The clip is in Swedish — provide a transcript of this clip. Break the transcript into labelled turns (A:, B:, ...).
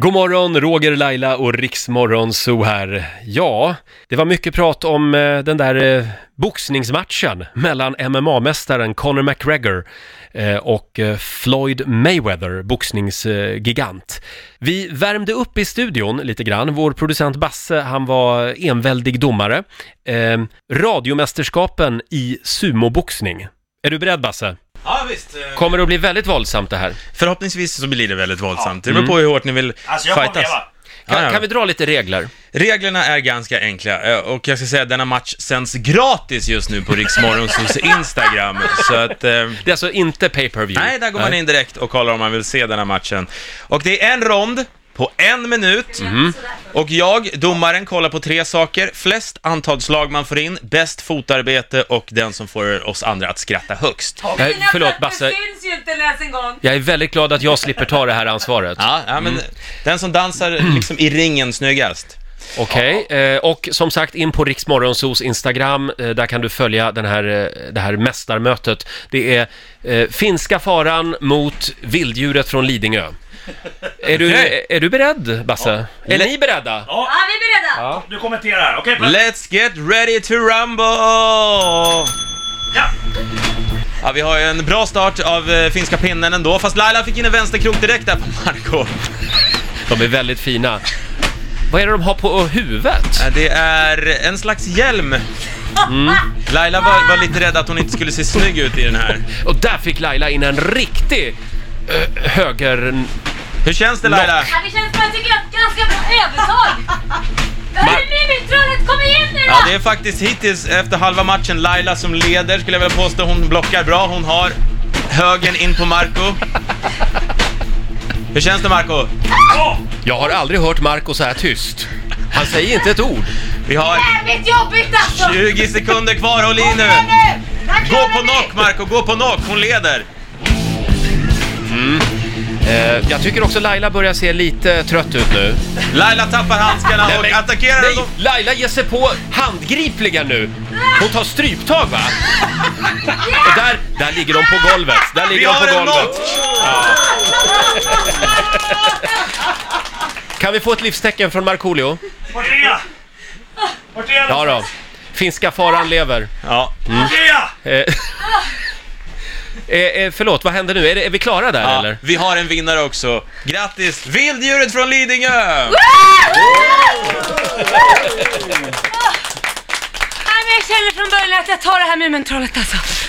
A: God morgon, Roger, Laila och Riksmorgon så här. Ja, det var mycket prat om eh, den där eh, boxningsmatchen mellan MMA-mästaren Conor McGregor eh, och eh, Floyd Mayweather, boxningsgigant. Vi värmde upp i studion lite grann. Vår producent Basse, han var enväldig domare. Eh, radiomästerskapen i sumoboxning. Är du beredd Basse?
B: Ja
C: eh.
B: visst.
A: Kommer det att bli väldigt våldsamt det här?
B: Förhoppningsvis så blir det väldigt våldsamt. Det beror på hur hårt ni vill
C: Alltså jag kommer
B: fightas.
C: leva.
A: Mm. Kan,
B: Ja, ja.
A: kan vi dra lite regler?
B: Reglerna är ganska enkla eh, och jag ska säga att denna match sänds gratis just nu på Riksmorgonsos Instagram. Så att... eh,
A: Det är alltså inte pay-per-view?
B: Nej, där går man in direkt och kollar om man vill se denna matchen. Och det är en rond på en minut.
A: Mm-hmm.
B: Och jag, domaren, kollar på tre saker. Flest antal slag man får in, bäst fotarbete och den som får oss andra att skratta högst.
A: Eh,
D: Mina
A: förlåt
D: fötter
A: Basse,
D: syns ju inte ens en gång.
A: jag är väldigt glad att jag slipper ta det här ansvaret.
B: Ja, ja men
A: Mm.
B: den som dansar liksom i ringen snyggast.
A: Okej, eh, och som sagt in på Riksmorgonsos Instagram, eh, där kan du följa den här, eh, det här mästarmötet. Det är eh, finska faran mot vilddjuret från Lidingö. Är du,
B: Okej.
A: är du beredd Basse? Är ni beredda?
D: Ja, vi är beredda.
A: Ja.
C: Du kommenterar, okej? Okay,
B: Let's get ready to rumble!
C: ja.
B: Ja, vi har ju en bra start av eh, finska pinnen ändå, fast Laila fick in en vänsterkrok direkt där på Marco.
A: De är väldigt fina. Vad är det de har på huvudet?
B: Eh, Det är en slags hjälm. Mm. Laila var, var lite rädd att hon inte skulle se snygg ut i den här.
A: Och där fick Laila in en riktig eh, höger...
B: Hur känns det Laila?
D: Ja, det känns som att jag tycker jag har ett ganska bra övertag. Hörru Mumintrollet, kom igen nu då!
B: Ja, det är faktiskt hittills efter halva matchen Laila som leder, skulle jag vilja påstå. Hon blockar bra, hon har högen in på Marco. Hur känns det Marco?
A: Jag har aldrig hört Marco så här tyst. Han säger inte ett ord.
B: Vi har
D: Jävligt jobbigt alltså!
B: 20 sekunder kvar, håll i nu!
D: Men nu! Där
B: Gå på
D: klarar vi.
B: knock Marco, gå på knock, hon leder!
A: Eh, jag tycker också Laila börjar se lite trött ut nu.
B: Laila tappar handskarna och attackerar
A: Nej,
B: dem.
A: Laila ger sig på handgripligen nu. Hon tar stryptag va? Och där, där ligger de på golvet. Där
B: Vi
A: ligger de
B: har
A: på
B: en
A: golvet.
B: knock!
A: Kan vi få ett livstecken från Markoolio?
C: Portrea! Portrea!
A: Ja då. Finska faran lever.
B: Ja,
C: Portrea!
A: Eh, Eh, eh, förlåt, vad händer nu? Är, det, är vi klara där
B: ja,
A: eller?
B: vi har en vinnare också. Grattis, vilddjuret från Lidingö!
D: Nej, men jag känner från början att jag tar det här Mumintrollet alltså.